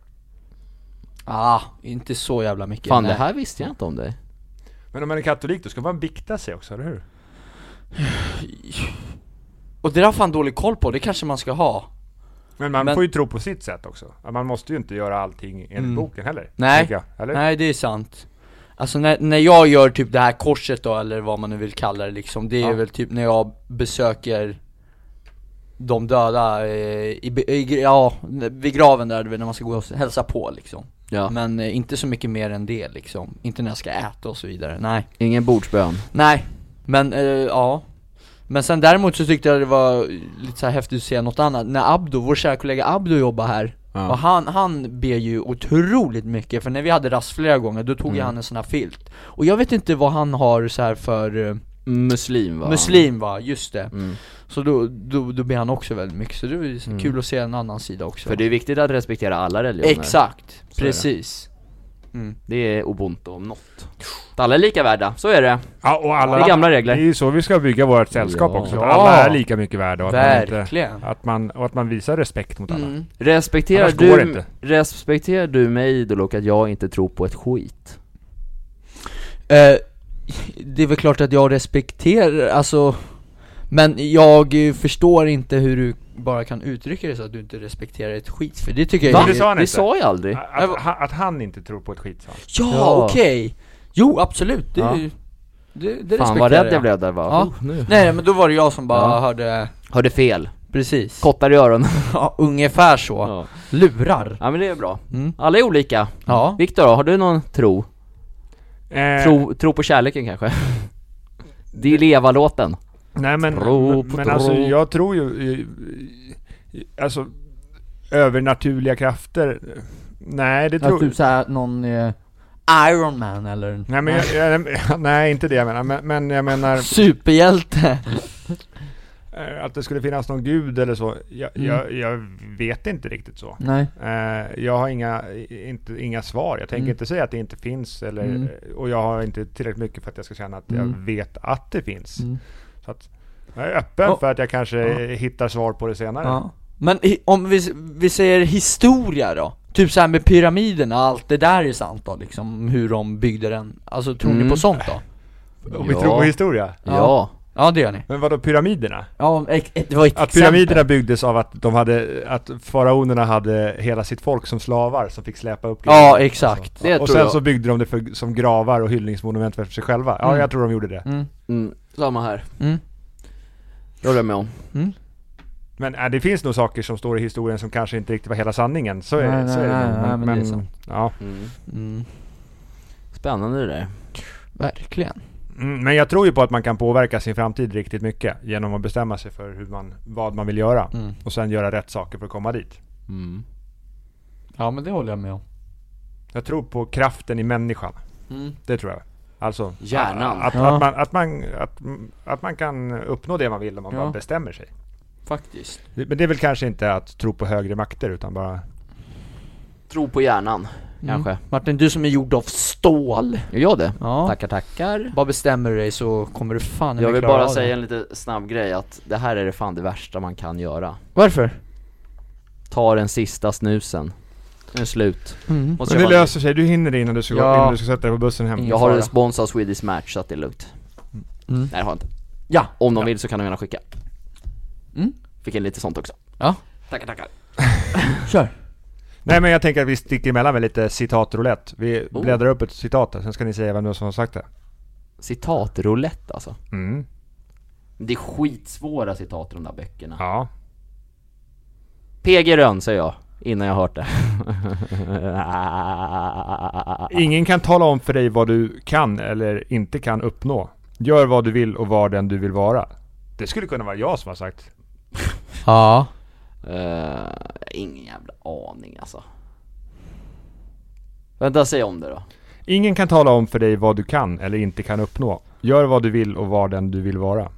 Speaker 3: Ah, inte så jävla mycket.
Speaker 1: Fan
Speaker 3: nej.
Speaker 1: det här visste jag inte om dig.
Speaker 2: Men om man är katolik då ska man bikta sig också, eller hur?
Speaker 3: Och det där har fan dålig koll på, det kanske man ska ha.
Speaker 2: Men man
Speaker 3: Men-
Speaker 2: får ju tro på
Speaker 1: Mm.
Speaker 2: sitt sätt också. Man måste ju inte göra allting enligt boken heller.
Speaker 3: Nej.
Speaker 2: tänker Jag, eller?
Speaker 3: Nej, det är sant. Alltså när, när jag gör typ det här korset då, eller vad man nu vill kalla det liksom, det är
Speaker 1: Ja.
Speaker 3: väl typ när jag besöker de döda eh, i, be- i, gra- ja, vid graven där du vet, när man ska gå och hälsa på liksom
Speaker 1: Ja.
Speaker 3: Men eh, inte så mycket mer än det liksom, inte när jag ska äta och så vidare, nej
Speaker 1: Ingen bordsbön.
Speaker 3: Nej, men eh, ja Men sen däremot så tyckte jag det var lite så här häftigt att se något annat När Abdo, vår kära kollega Abdo jobbar här
Speaker 1: Ja.
Speaker 3: Och han, han ber ju otroligt mycket, för när vi hade rast flera gånger då tog ju
Speaker 1: Mm.
Speaker 3: han en sån här filt Och jag vet inte vad han har så här för eh,
Speaker 1: Muslim va?
Speaker 3: Muslim va, just det
Speaker 1: Mm.
Speaker 3: Så då, då, då ber han också väldigt mycket, så det var ju så kul att se en annan sida också
Speaker 1: För det är viktigt att respektera alla religioner.
Speaker 3: Exakt,
Speaker 1: det.
Speaker 3: precis
Speaker 1: Det är ubuntu om något. Att alla är lika värda, så är det.
Speaker 2: Ja, och alla,
Speaker 1: Det är gamla regler.
Speaker 2: Det är ju så vi ska bygga vårt sällskap
Speaker 1: Ja.
Speaker 2: också.
Speaker 3: Ja.
Speaker 2: Att alla är lika mycket värda och att, man inte,
Speaker 3: Verkligen
Speaker 2: att, man, och att man visar respekt mot alla.
Speaker 3: Mm.
Speaker 1: Respekterar
Speaker 2: Annars går det
Speaker 1: du,
Speaker 2: inte.
Speaker 1: respekterar du mig Idol att jag inte tror på ett skit?
Speaker 3: Eh, det är väl klart att jag respekterar, alltså Men jag eh, förstår inte hur du bara kan uttrycka det så att du inte respekterar ett skit, för det tycker
Speaker 2: Va?
Speaker 3: jag
Speaker 2: Det
Speaker 3: är...
Speaker 2: sa han
Speaker 1: det
Speaker 2: inte.
Speaker 1: sa jag aldrig.
Speaker 2: Att, att, att han inte tror på ett skit sa han.
Speaker 3: Ja,
Speaker 1: Ja.
Speaker 3: okej! Jo, absolut, det,
Speaker 1: Ja.
Speaker 3: det, det respekterar
Speaker 1: Fan vad rädd jag
Speaker 3: jag.
Speaker 1: blev där va.
Speaker 3: Ja.
Speaker 1: Oh, nu.
Speaker 3: Nej men då var det jag som bara
Speaker 1: Ja.
Speaker 3: hörde,
Speaker 1: Hörde fel.
Speaker 3: precis
Speaker 1: Kottar i öronen.
Speaker 3: Ja, ungefär så,
Speaker 1: Ja.
Speaker 3: lurar
Speaker 1: ja men det är bra.
Speaker 3: Mm.
Speaker 1: Alla är olika.
Speaker 3: Ja,
Speaker 1: Viktor då, har du någon tro?
Speaker 2: Eh,
Speaker 1: Tro, tro på kärleken kanske? Det är leva-låten.
Speaker 2: Nej men,
Speaker 1: Tro på
Speaker 2: men, men
Speaker 1: tro.
Speaker 2: alltså jag tror ju... eh, eh, Alltså övernaturliga krafter. eh, Nej det tror
Speaker 3: typ såhär någon eh, Iron Man eller
Speaker 2: Nej men jag, jag, nej inte det jag menar. Men, men jag menar
Speaker 3: Superhjälte!
Speaker 2: eh, att det skulle finnas någon gud eller så. Jag,
Speaker 3: Mm.
Speaker 2: jag, jag vet inte riktigt så.
Speaker 3: Nej
Speaker 2: Eh, jag har inga, inte, inga svar. Jag tänker
Speaker 3: Mm.
Speaker 2: inte säga att det inte finns. Eller,
Speaker 3: Mm.
Speaker 2: Och jag har inte tillräckligt mycket för att jag ska känna att jag
Speaker 3: Mm.
Speaker 2: vet att det finns.
Speaker 3: Mm.
Speaker 2: Så att, jag är öppen
Speaker 3: Och-
Speaker 2: för att jag kanske hittar svar på det senare.
Speaker 3: Ja. Men i- om vi, s- vi säger historia då? Typ såhär med pyramiderna, allt det där är sant då liksom, hur de byggde den Alltså tror
Speaker 1: Mm.
Speaker 3: ni på sånt då?
Speaker 2: Om vi
Speaker 1: Ja.
Speaker 2: tror på historia.
Speaker 1: Ja.
Speaker 3: Ja. Ja det gör ni
Speaker 2: Men vadå pyramiderna?
Speaker 3: Ja, ex- eh, det var ett
Speaker 2: Att pyramiderna byggdes av att de hade, att faraonerna hade hela sitt folk som slavar som fick släpa upp
Speaker 3: Ja, exakt
Speaker 1: Det
Speaker 2: Och
Speaker 1: tror
Speaker 2: sen
Speaker 1: jag.
Speaker 2: så byggde de det för, som gravar och hyllningsmonument för sig själva. Ja,
Speaker 3: Mm.
Speaker 2: jag tror de gjorde det.
Speaker 3: mm.
Speaker 1: Mm, samma här.
Speaker 3: Mm.
Speaker 1: Det håller jag med om.
Speaker 2: Men äh, det finns nog saker som står i historien som kanske inte riktigt var hela sanningen. Så är,
Speaker 3: Nej,
Speaker 2: så är
Speaker 3: nej,
Speaker 2: det.
Speaker 3: nej, nej, men det är sant.
Speaker 2: ja.
Speaker 1: Mm.
Speaker 3: Mm.
Speaker 1: Spännande det där.
Speaker 3: Verkligen
Speaker 2: Mm, men jag tror ju på att man kan påverka sin framtid riktigt mycket genom att bestämma sig för hur man, vad man vill göra.
Speaker 3: mm.
Speaker 2: Och sen göra rätt saker för att komma dit.
Speaker 1: Mm.
Speaker 3: Ja men det håller jag med om
Speaker 2: Jag tror på kraften i människan.
Speaker 3: mm.
Speaker 2: Det tror jag. Alltså,
Speaker 1: Hjärnan.
Speaker 2: Att,
Speaker 3: Ja.
Speaker 2: att, man, att, man, att, att man kan uppnå det man vill om man
Speaker 3: Ja.
Speaker 2: bara bestämmer sig.
Speaker 3: Faktiskt
Speaker 2: Men det är väl kanske inte att tro på högre makter utan bara...
Speaker 1: Tro på hjärnan,
Speaker 3: Mm.
Speaker 1: kanske.
Speaker 3: Martin, du som är gjord av stål
Speaker 1: Gör jag det?
Speaker 3: Ja
Speaker 1: Tackar, tackar.
Speaker 3: Bara bestämmer du dig så kommer du fan
Speaker 1: Jag vill
Speaker 3: klara
Speaker 1: bara
Speaker 3: av det.
Speaker 1: säga en lite snabb grej att det här är det fan det värsta man kan göra.
Speaker 3: Varför?
Speaker 1: Ta den sista snusen. Nu är det slut.
Speaker 3: Mm.
Speaker 1: Måste
Speaker 2: Men det
Speaker 1: bara-
Speaker 2: löser sig, du hinner det innan du ska,
Speaker 3: Ja.
Speaker 2: innan du ska sätta dig på bussen hem.
Speaker 3: Mm.
Speaker 1: Jag har
Speaker 3: fara.
Speaker 1: en spons av Swedish Match så att det är lugnt.
Speaker 3: Mm.
Speaker 1: Nej det har jag inte.
Speaker 3: Ja.
Speaker 1: Om de vill så kan de gärna skicka.
Speaker 3: Mm.
Speaker 1: Fick en lite sånt också.
Speaker 3: Ja.
Speaker 1: Tackar, tackar.
Speaker 3: Kör
Speaker 2: Nej men jag tänker att vi sticker emellan med lite citatroulette. Vi
Speaker 1: Oh.
Speaker 2: bläddrar upp ett citat här, sen ska ni säga vem det var som har sagt det.
Speaker 1: Citatroulette alltså.
Speaker 2: Mm.
Speaker 1: Det är skitsvåra citat i de där böckerna.
Speaker 2: Ja.
Speaker 1: PG Rönn säger jag, innan jag hört det.
Speaker 2: Ingen kan tala om för dig vad du kan eller inte kan uppnå. Gör vad du vill och var den du vill vara. Det skulle kunna vara jag som har sagt.
Speaker 3: Ja
Speaker 1: Eh, ingen jävla aning alltså. Vänta, säg om det då.
Speaker 2: Ingen kan tala om för dig vad du kan eller inte kan uppnå. Gör vad du vill och var den du vill vara.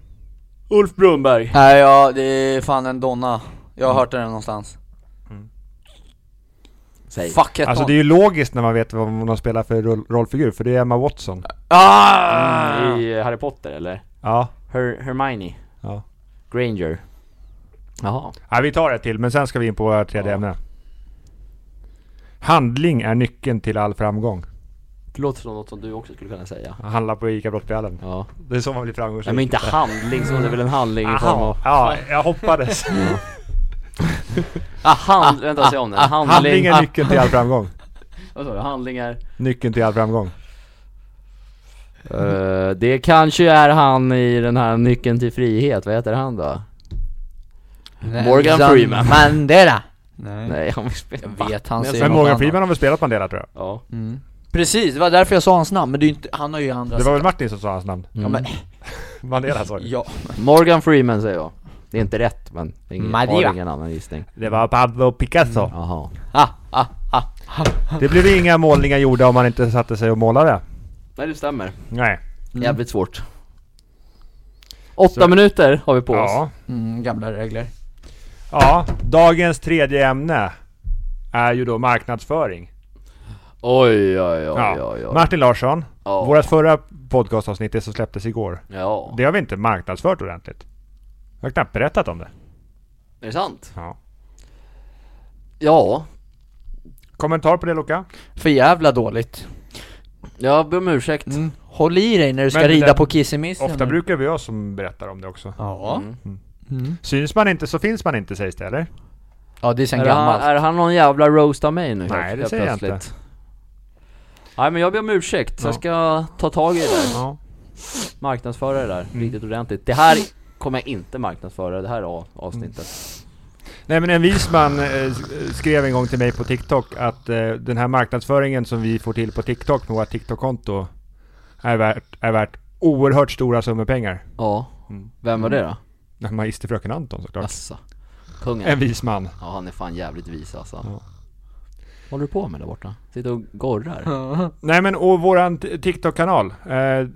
Speaker 1: Ulf Brunnberg.
Speaker 3: Nej ja, det är fan en donna Jag har hört den någonstans
Speaker 1: Säg.
Speaker 3: Fuck
Speaker 2: Alltså
Speaker 3: jag alltså,
Speaker 2: det är ju logiskt när man vet vad man spelar för roll- rollfigur, för det är Emma Watson.
Speaker 3: ah!
Speaker 1: I Harry Potter eller?
Speaker 2: Ja.
Speaker 1: Her Hermione.
Speaker 2: Ja.
Speaker 1: Granger. Jaha.
Speaker 2: ja. Vi tar ett till, men sen ska vi in på vårt tredje ämne. Handling är nyckeln till all framgång.
Speaker 1: Det låter som något som du också skulle kunna säga.
Speaker 2: Handla på ICA Brottbjällen.
Speaker 1: Ja.
Speaker 2: Det är så man blir
Speaker 1: Nej
Speaker 2: framgångsrik.
Speaker 1: men inte handling, som det är väl en handling i form av...
Speaker 2: Aha. Ja, jag hoppades.
Speaker 1: Ah, hand... Vänta, säg om det. Handling... Ah.
Speaker 2: Handling är nyckeln till all framgång.
Speaker 1: Vad sa du? Handlingar...
Speaker 2: Nyckeln till all framgång.
Speaker 1: Eh, det kanske är han i den här Nyckeln till frihet, vad heter han då? Morgan
Speaker 3: Nelson
Speaker 1: Freeman.
Speaker 3: Mandela! Nej.
Speaker 1: Nej, han vill spela
Speaker 3: Jag vet, han
Speaker 1: Men
Speaker 3: ser
Speaker 2: Men
Speaker 3: något
Speaker 2: Morgan
Speaker 3: annat.
Speaker 2: Freeman har väl spelat Mandela tror jag?
Speaker 1: Ja.
Speaker 3: Mm. Precis, det var därför jag sa hans namn, men det är ju inte, han har ju andra
Speaker 2: Det var väl Martin som sa hans namn?
Speaker 1: Mm.
Speaker 3: Ja men,
Speaker 2: Mandela sa jag.
Speaker 3: ja.
Speaker 1: Morgan Freeman säger jag. Det är inte rätt men det är ingen,
Speaker 3: Maria.
Speaker 1: har ingen annan gissning.
Speaker 2: Det var Pablo Picasso.
Speaker 1: Jaha.
Speaker 3: Ah, ah, ah.
Speaker 2: Det blev ju inga målningar gjorda om man inte satte sig och målade.
Speaker 1: Nej det stämmer.
Speaker 2: Nej.
Speaker 1: Jävligt svårt. Åtta
Speaker 2: Så-
Speaker 1: minuter har vi på oss.
Speaker 2: Ja.
Speaker 3: Mm, gamla regler.
Speaker 2: ja. Dagens tredje ämne är ju då marknadsföring.
Speaker 1: Oj oj oj
Speaker 2: Ja.
Speaker 1: oj oj.
Speaker 2: Martin Larsson,
Speaker 1: Ja.
Speaker 2: vårt förra podcastavsnitt som släpptes igår.
Speaker 1: Ja.
Speaker 2: Det har vi inte marknadsfört ordentligt. Jag har knappt berättat om det.
Speaker 1: Är det sant?
Speaker 2: Ja.
Speaker 1: Ja.
Speaker 2: Kommentar på det Luka?
Speaker 3: För jävla dåligt.
Speaker 1: Jag ber om ursäkt.
Speaker 3: Mm. Håll i dig när du ska
Speaker 2: Men det
Speaker 3: rida
Speaker 2: där-
Speaker 3: på kissemissen.
Speaker 2: Ofta brukar vi jag som berättar om det också.
Speaker 3: Ja.
Speaker 1: Mm.
Speaker 3: Mm.
Speaker 2: Syns man inte så finns man inte sägs det eller?
Speaker 3: Ja, det är sen
Speaker 1: Är, han,
Speaker 3: gammalt.
Speaker 1: är han någon jävla roast av mig nu?
Speaker 2: Nej,
Speaker 1: helt-
Speaker 2: det
Speaker 1: helt
Speaker 2: säger jag inte.
Speaker 1: plötsligt? Nej men jag ber om ursäkt, så jag ska ta tag i det där.
Speaker 2: Ja.
Speaker 1: Marknadsföra det där
Speaker 2: Mm.
Speaker 1: riktigt ordentligt. Det här kommer jag inte marknadsföra, det här av- avsnittet.
Speaker 2: Nej men en vis man eh, skrev en gång till mig på TikTok att eh, den här marknadsföringen som vi får till på TikTok med vårt TikTok-konto är värt, är värt oerhört stora summor pengar.
Speaker 1: Ja.
Speaker 2: Mm.
Speaker 1: Vem var det då?
Speaker 2: Ja, Magisterfröken Anton såklart.
Speaker 1: Jaså? Kungen?
Speaker 2: En vis man.
Speaker 1: Ja han är fan jävligt vis alltså.
Speaker 2: Ja.
Speaker 1: Vad håller du på med där borta? Sitter och gorrar?
Speaker 3: Ja.
Speaker 2: Nej men och våran t- TikTok-kanal. Eh,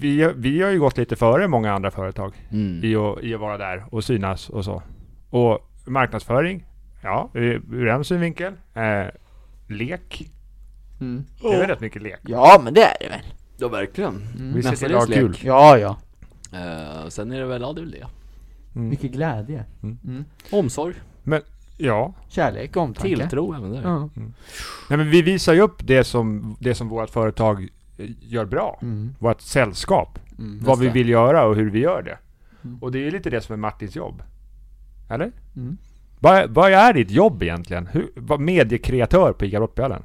Speaker 2: vi, vi har ju gått lite före många andra företag
Speaker 1: Mm.
Speaker 2: i att, i att vara där och synas och så. Och marknadsföring, ja, ur ur en synvinkel. Eh, lek,
Speaker 3: Mm.
Speaker 2: det är väl rätt mycket lek.
Speaker 3: ja, men det är det väl.
Speaker 1: Ja verkligen.
Speaker 2: Vi ser till att ha
Speaker 1: Mestadels
Speaker 2: kul.
Speaker 1: lek.
Speaker 3: Ja, ja.
Speaker 1: Eh, sen är det väl, ja det är väl det.
Speaker 3: Mycket glädje.
Speaker 1: Omsorg,
Speaker 2: Men, ja.
Speaker 3: Kärlek och omtanke.
Speaker 1: tilltro även där.
Speaker 3: Ja.
Speaker 2: Nej men vi visar ju upp det som, det som vårt företag eh, gör bra.
Speaker 3: Mm.
Speaker 2: Vårt sällskap.
Speaker 3: Mm.
Speaker 2: vad vi
Speaker 1: det.
Speaker 2: vill göra och hur vi gör det.
Speaker 3: Mm.
Speaker 2: Och det är ju lite det som är Martins jobb. Eller?
Speaker 3: Mm.
Speaker 2: Vad, vad är ditt jobb egentligen? Hur, vad mediekreatör på ICA Brottbjörnen?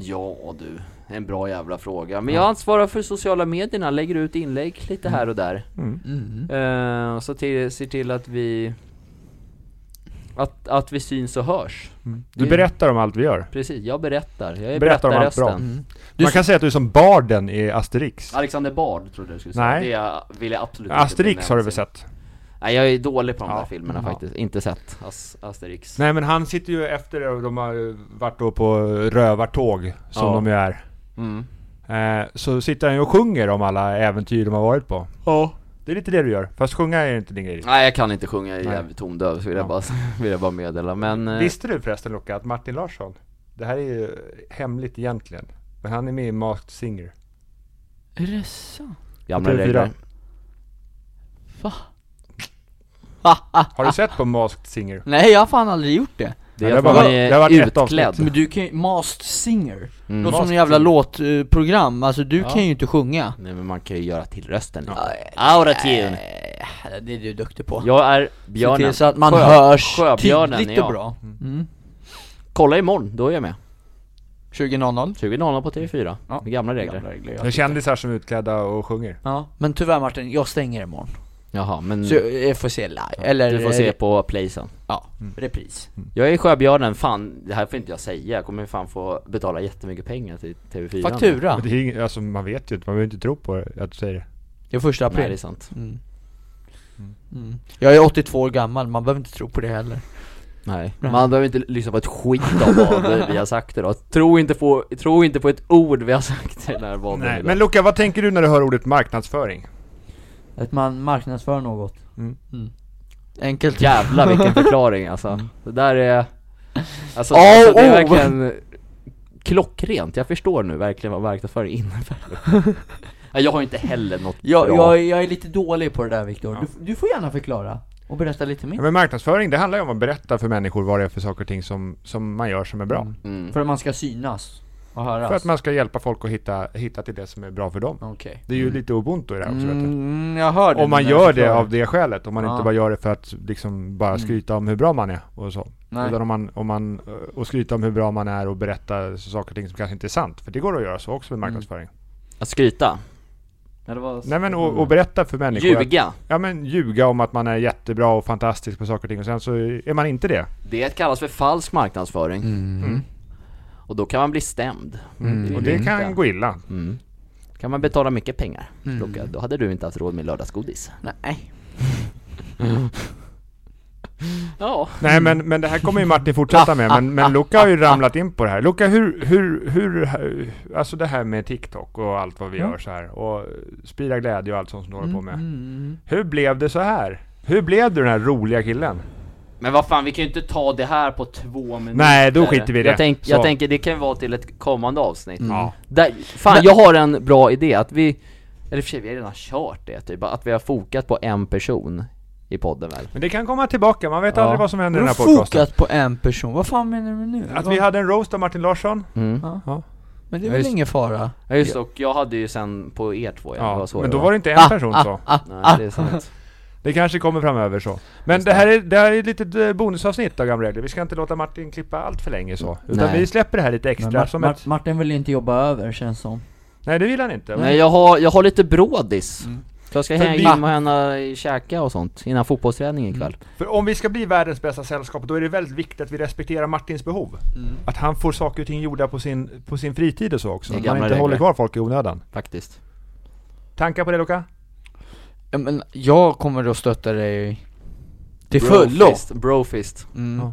Speaker 1: Ja du, en bra jävla fråga. Men jag ansvarar för sociala medierna, lägger ut inlägg lite här och där.
Speaker 3: Mm.
Speaker 1: Eh, och så till, ser till att vi att, att vi syns och hörs.
Speaker 2: Du
Speaker 3: Mm.
Speaker 1: Det-
Speaker 2: berättar om allt vi gör.
Speaker 1: Precis, jag berättar. Jag är
Speaker 2: Berättar om allt
Speaker 1: berättarrösten.
Speaker 2: bra.
Speaker 3: Mm.
Speaker 2: Man kan säga att du är som barden i Asterix.
Speaker 1: Alexander Bard trodde jag skulle säga.
Speaker 2: Nej.
Speaker 1: Det jag- vill jag absolut inte
Speaker 2: Asterix har du
Speaker 1: benämna
Speaker 2: väl
Speaker 1: sig.
Speaker 2: sett?
Speaker 1: Nej jag är dålig på de
Speaker 2: Ja.
Speaker 1: där filmerna
Speaker 2: Ja.
Speaker 1: faktiskt, inte sett As- Asterix
Speaker 2: Nej men han sitter ju efter det och de har varit då på rövartåg, som
Speaker 1: Ja.
Speaker 2: de ju är.
Speaker 1: mm.
Speaker 2: Eh, så sitter han ju och sjunger om alla äventyr de har varit på.
Speaker 1: Ja
Speaker 2: Det är lite det du gör, fast sjunga är inte din grej.
Speaker 1: Nej jag kan inte sjunga, jag är
Speaker 2: Nej.
Speaker 1: jävligt tondöv så vill, jag
Speaker 2: Ja.
Speaker 1: bara, vill jag bara meddela men eh,
Speaker 2: Visste du förresten Luca att Martin Larsson, det här är ju hemligt egentligen, men han är med i Masked Singer.
Speaker 3: Är det sant?
Speaker 1: gamla
Speaker 2: på TV4.
Speaker 1: regler
Speaker 3: Va?
Speaker 2: Har du sett på Masked Singer?
Speaker 3: Nej, jag har fan aldrig gjort det.
Speaker 1: Det
Speaker 2: Ja,
Speaker 1: är
Speaker 2: det
Speaker 1: att
Speaker 2: var-
Speaker 1: man
Speaker 2: det har
Speaker 1: är
Speaker 2: varit ett avsnitt. Mm.
Speaker 1: utklädd
Speaker 3: Men du kan ju, Masked Singer.
Speaker 1: Mm.
Speaker 3: Låter som en
Speaker 2: Masked
Speaker 3: jävla
Speaker 2: Singer.
Speaker 3: låtprogram, alltså du kan ju inte sjunga.
Speaker 1: Nej men man kan ju göra till rösten lite.
Speaker 3: Ja.
Speaker 1: Autotune
Speaker 3: Eh, Det är du duktig på.
Speaker 1: Jag är
Speaker 3: Se till
Speaker 1: björnen,
Speaker 3: så att man
Speaker 1: Sjö-
Speaker 3: hörs
Speaker 1: Sjöbjörnen är
Speaker 3: tydligt
Speaker 1: jag.
Speaker 3: och bra. Mm.
Speaker 1: kolla imorgon, då är jag med
Speaker 3: 20.00.
Speaker 1: 20.00 på TV4,
Speaker 3: Ja.
Speaker 1: med gamla regler
Speaker 2: Det är kändisar som är utklädda och sjunger.
Speaker 3: Ja, men tyvärr Martin, jag stänger imorgon.
Speaker 1: Jaha men
Speaker 3: Så jag jag får se live, eller
Speaker 1: du får se på playsen
Speaker 3: ja, repris.
Speaker 1: Jag är sjöbjörnen, fan det här får inte jag säga, jag kommer fan få betala jättemycket pengar till TV4 nu.
Speaker 3: Faktura,
Speaker 2: Men det är ju, ing- alltså man vet ju inte, man behöver inte tro på det, att du säger det.
Speaker 3: det är första
Speaker 1: Nej det är
Speaker 3: april.
Speaker 1: sant
Speaker 3: Mm. Mm. Jag är 82 år gammal, man behöver inte tro på det heller.
Speaker 1: Nej, man behöver inte lyssna på ett skit av vad vi har sagt idag Tro inte på, tro inte på ett ord vi har sagt i den här podden
Speaker 2: Nej,
Speaker 1: idag.
Speaker 2: men Luca, vad tänker du när du hör ordet marknadsföring?
Speaker 3: Att man marknadsför något.
Speaker 2: Mm.
Speaker 3: Enkelt.
Speaker 1: Jävlar vilken förklaring alltså Det där är... Alltså,
Speaker 3: Oh,
Speaker 1: alltså det är
Speaker 3: oh.
Speaker 1: verkligen klockrent, jag förstår nu verkligen vad marknadsföring innebär Nej, Jag har inte heller något
Speaker 3: Jag,
Speaker 1: bra
Speaker 3: jag, är- jag är lite dålig på det där Viktor, du, du får gärna förklara och berätta lite
Speaker 2: Ja,
Speaker 3: mer.
Speaker 2: men marknadsföring, det handlar ju om att berätta för människor vad det är för saker och ting som, som man gör som är bra.
Speaker 3: Mm.
Speaker 1: mm.
Speaker 3: För att man ska synas och höras.
Speaker 2: För att man ska hjälpa folk att hitta, hitta till det som är bra för dem.
Speaker 3: Okej.
Speaker 2: Det är ju lite ubuntu i det här också vet du.
Speaker 3: Mm, jag hör det
Speaker 2: Om man
Speaker 3: nu
Speaker 2: gör
Speaker 3: när
Speaker 2: det
Speaker 3: jag
Speaker 2: av det skälet, om man
Speaker 3: Ja. Mm.
Speaker 2: inte bara gör det för att liksom bara skryta om hur bra man är och så.
Speaker 3: Nej.
Speaker 2: Utan om man, om man, eh, och skryta om hur bra man är och
Speaker 3: Mm.
Speaker 2: berätta saker och ting som kanske inte är sant. För det går att göra så också med marknadsföring.
Speaker 1: Att skryta
Speaker 4: Ja, det var...
Speaker 2: Nej men
Speaker 3: Mm.
Speaker 2: och, och berätta för
Speaker 1: Mm.
Speaker 2: människor att-
Speaker 1: Ljuga.
Speaker 2: Ja men ljuga om att man är jättebra och fantastisk på saker och ting och sen så är man inte det.
Speaker 1: Det kallas för falsk marknadsföring.
Speaker 3: Mm.
Speaker 1: Och då kan man bli stämd.
Speaker 2: Mm. Och
Speaker 3: Mm.
Speaker 2: det
Speaker 1: inte.
Speaker 2: kan gå illa.
Speaker 1: kan man betala mycket pengar. Luca. Då hade du inte haft råd med lördagsgodis.
Speaker 3: Mm. Nej.
Speaker 1: Ja.
Speaker 2: Nej men, men det här kommer ju Martin fortsätta med, men, men Luca har ju ramlat in på det här. Luca, hur, hur, hur, alltså det här med TikTok och allt vad vi gör så här och sprida glädje och allt sånt som du håller
Speaker 4: Mm,
Speaker 2: på med. Hur blev det så här? Hur blev du den här roliga killen?
Speaker 4: Men vad fan, vi kan ju inte ta det här på två minuter.
Speaker 2: Nej, då skiter vi i det.
Speaker 1: Jag, tänk,
Speaker 2: Så. Mm.
Speaker 1: jag tänker det kan vara till ett kommande avsnitt.
Speaker 2: Ja.
Speaker 1: Där, fan jag har en bra idé att vi, eller i och för sig vi har redan kört det typ, att vi har fokat på en person i podden väl?
Speaker 2: Men det kan komma tillbaka, man vet aldrig vad som händer i
Speaker 3: Du
Speaker 2: den
Speaker 3: har
Speaker 2: här podcasten.
Speaker 3: fokat på en person, vad fan menar du nu?
Speaker 2: Att vi hade en roast av Martin Larsson.
Speaker 1: Mm.
Speaker 3: Men det är
Speaker 1: Ja,
Speaker 3: väl
Speaker 1: just-
Speaker 3: ingen fara?
Speaker 1: Ja just det, och jag hade ju sen på er två, ja, det var Ah,
Speaker 2: Ja,
Speaker 1: så
Speaker 2: men
Speaker 1: det
Speaker 2: då var det inte en person så.
Speaker 1: Nej, det är sant.
Speaker 2: Det kanske kommer framöver så. Men det här är, det här är ett litet eh, bonusavsnitt av Gamla Regler. Vi ska inte låta Martin klippa allt för länge så. Utan
Speaker 1: Nej.
Speaker 2: vi släpper det här lite
Speaker 4: Men
Speaker 2: extra
Speaker 4: Mar-
Speaker 2: som
Speaker 4: Mar-
Speaker 2: ett...
Speaker 4: Martin vill ju inte jobba över känns som.
Speaker 2: Nej det vill han inte.
Speaker 1: Nej jag har, jag har lite brådis. Så jag ska
Speaker 2: Mm. För
Speaker 1: hänga
Speaker 2: vi-
Speaker 1: in och henne i käka och sånt innan fotbollsträningen ikväll.
Speaker 2: För om vi ska bli världens bästa sällskap, då är det väldigt viktigt att vi respekterar Martins behov.
Speaker 1: Mm.
Speaker 2: Att han får saker och ting gjorda på sin, på sin fritid och så också.
Speaker 1: Det är
Speaker 2: Att man
Speaker 1: gamla
Speaker 2: inte håller
Speaker 1: regler.
Speaker 2: kvar folk i onödan.
Speaker 1: Faktiskt.
Speaker 2: Tankar på det Luca?
Speaker 3: Ja, men jag kommer att stötta dig till fullo.
Speaker 1: Brofist, brofist.
Speaker 3: Mm.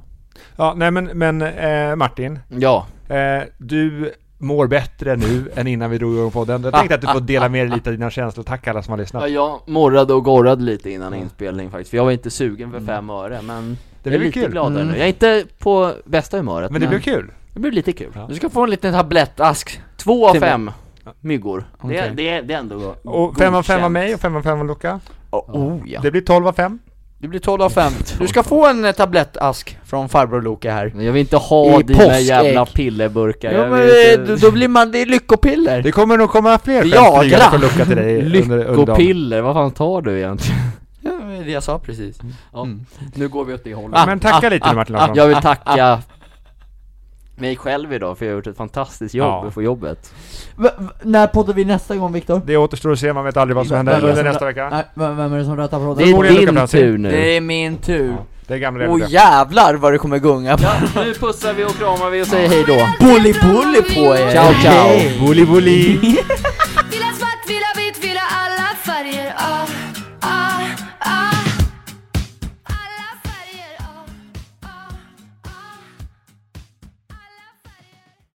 Speaker 2: Ja, nej men, men eh, Martin.
Speaker 1: Ja.
Speaker 2: Eh, du mår bättre nu än innan vi drog igång podden. Jag tänkte att du får dela med dig lite av dina känslor. Tack alla som har lyssnat.
Speaker 1: ja, jag morrade och gorrade lite innan inspelning faktiskt, för jag var inte sugen för fem öre men
Speaker 2: Mm. Det
Speaker 1: jag är
Speaker 2: blir
Speaker 1: lite
Speaker 2: kul. Mm.
Speaker 1: gladare nu. Jag är inte på bästa humöret
Speaker 2: Men det blev kul.
Speaker 1: det blev lite kul.
Speaker 3: Du ska få en liten tablettask.
Speaker 1: Två av
Speaker 3: Det var-
Speaker 1: fem myggor. Det,
Speaker 3: Okej.
Speaker 1: det, det är ändå
Speaker 2: Och fem av fem av
Speaker 1: godkänt.
Speaker 2: mig och fem av fem av Luca.
Speaker 3: Oh, oh ja.
Speaker 2: Det blir 12 av 5.
Speaker 3: Det blir 12 av 5. Du ska få en eh, tablettask från farbror Loke här.
Speaker 1: Men jag vill inte ha
Speaker 3: I
Speaker 1: dina
Speaker 3: påskägg.
Speaker 1: jävla pillerburkar.
Speaker 3: Ja,
Speaker 1: Mm. jag
Speaker 3: men
Speaker 1: vill
Speaker 3: eh, då, då blir man, det är lyckopiller.
Speaker 2: Det kommer nog komma fler
Speaker 3: Viagra.
Speaker 2: skämtningar från Luca till dig under, under dagen.
Speaker 1: Lyckopiller, vad fan tar du egentligen?
Speaker 3: Ja, det är det jag sa precis.
Speaker 1: Ja, nu går vi åt det hållet.
Speaker 2: Men tacka lite
Speaker 1: ah,
Speaker 2: nu Martin Larsson.
Speaker 1: jag vill
Speaker 2: ah.
Speaker 1: tacka mig själv idag för jag har gjort ett fantastiskt jobb
Speaker 2: Ja.
Speaker 1: och får jobbet.
Speaker 4: V- v- när poddar vi nästa gång Viktor?
Speaker 2: Det återstår att se, man vet aldrig vad som
Speaker 4: Vem är
Speaker 2: händer
Speaker 4: det
Speaker 2: under
Speaker 4: som-
Speaker 2: nästa vecka.
Speaker 4: Nej, vem vem är det som rattar podden?
Speaker 1: Det är
Speaker 2: Förmodligen Luca
Speaker 1: din
Speaker 2: Franzén.
Speaker 1: tur nu.
Speaker 3: Det är min tur.
Speaker 2: Det är gamla
Speaker 3: Åh
Speaker 2: regler.
Speaker 3: jävlar vad det kommer gunga på.
Speaker 1: Nu pussar vi och kramar vi och säger hej då.
Speaker 3: Bully bully på er!
Speaker 1: Ciao, ciao.
Speaker 3: Hej.
Speaker 2: Bully bully!
Speaker 5: Ah, Ah,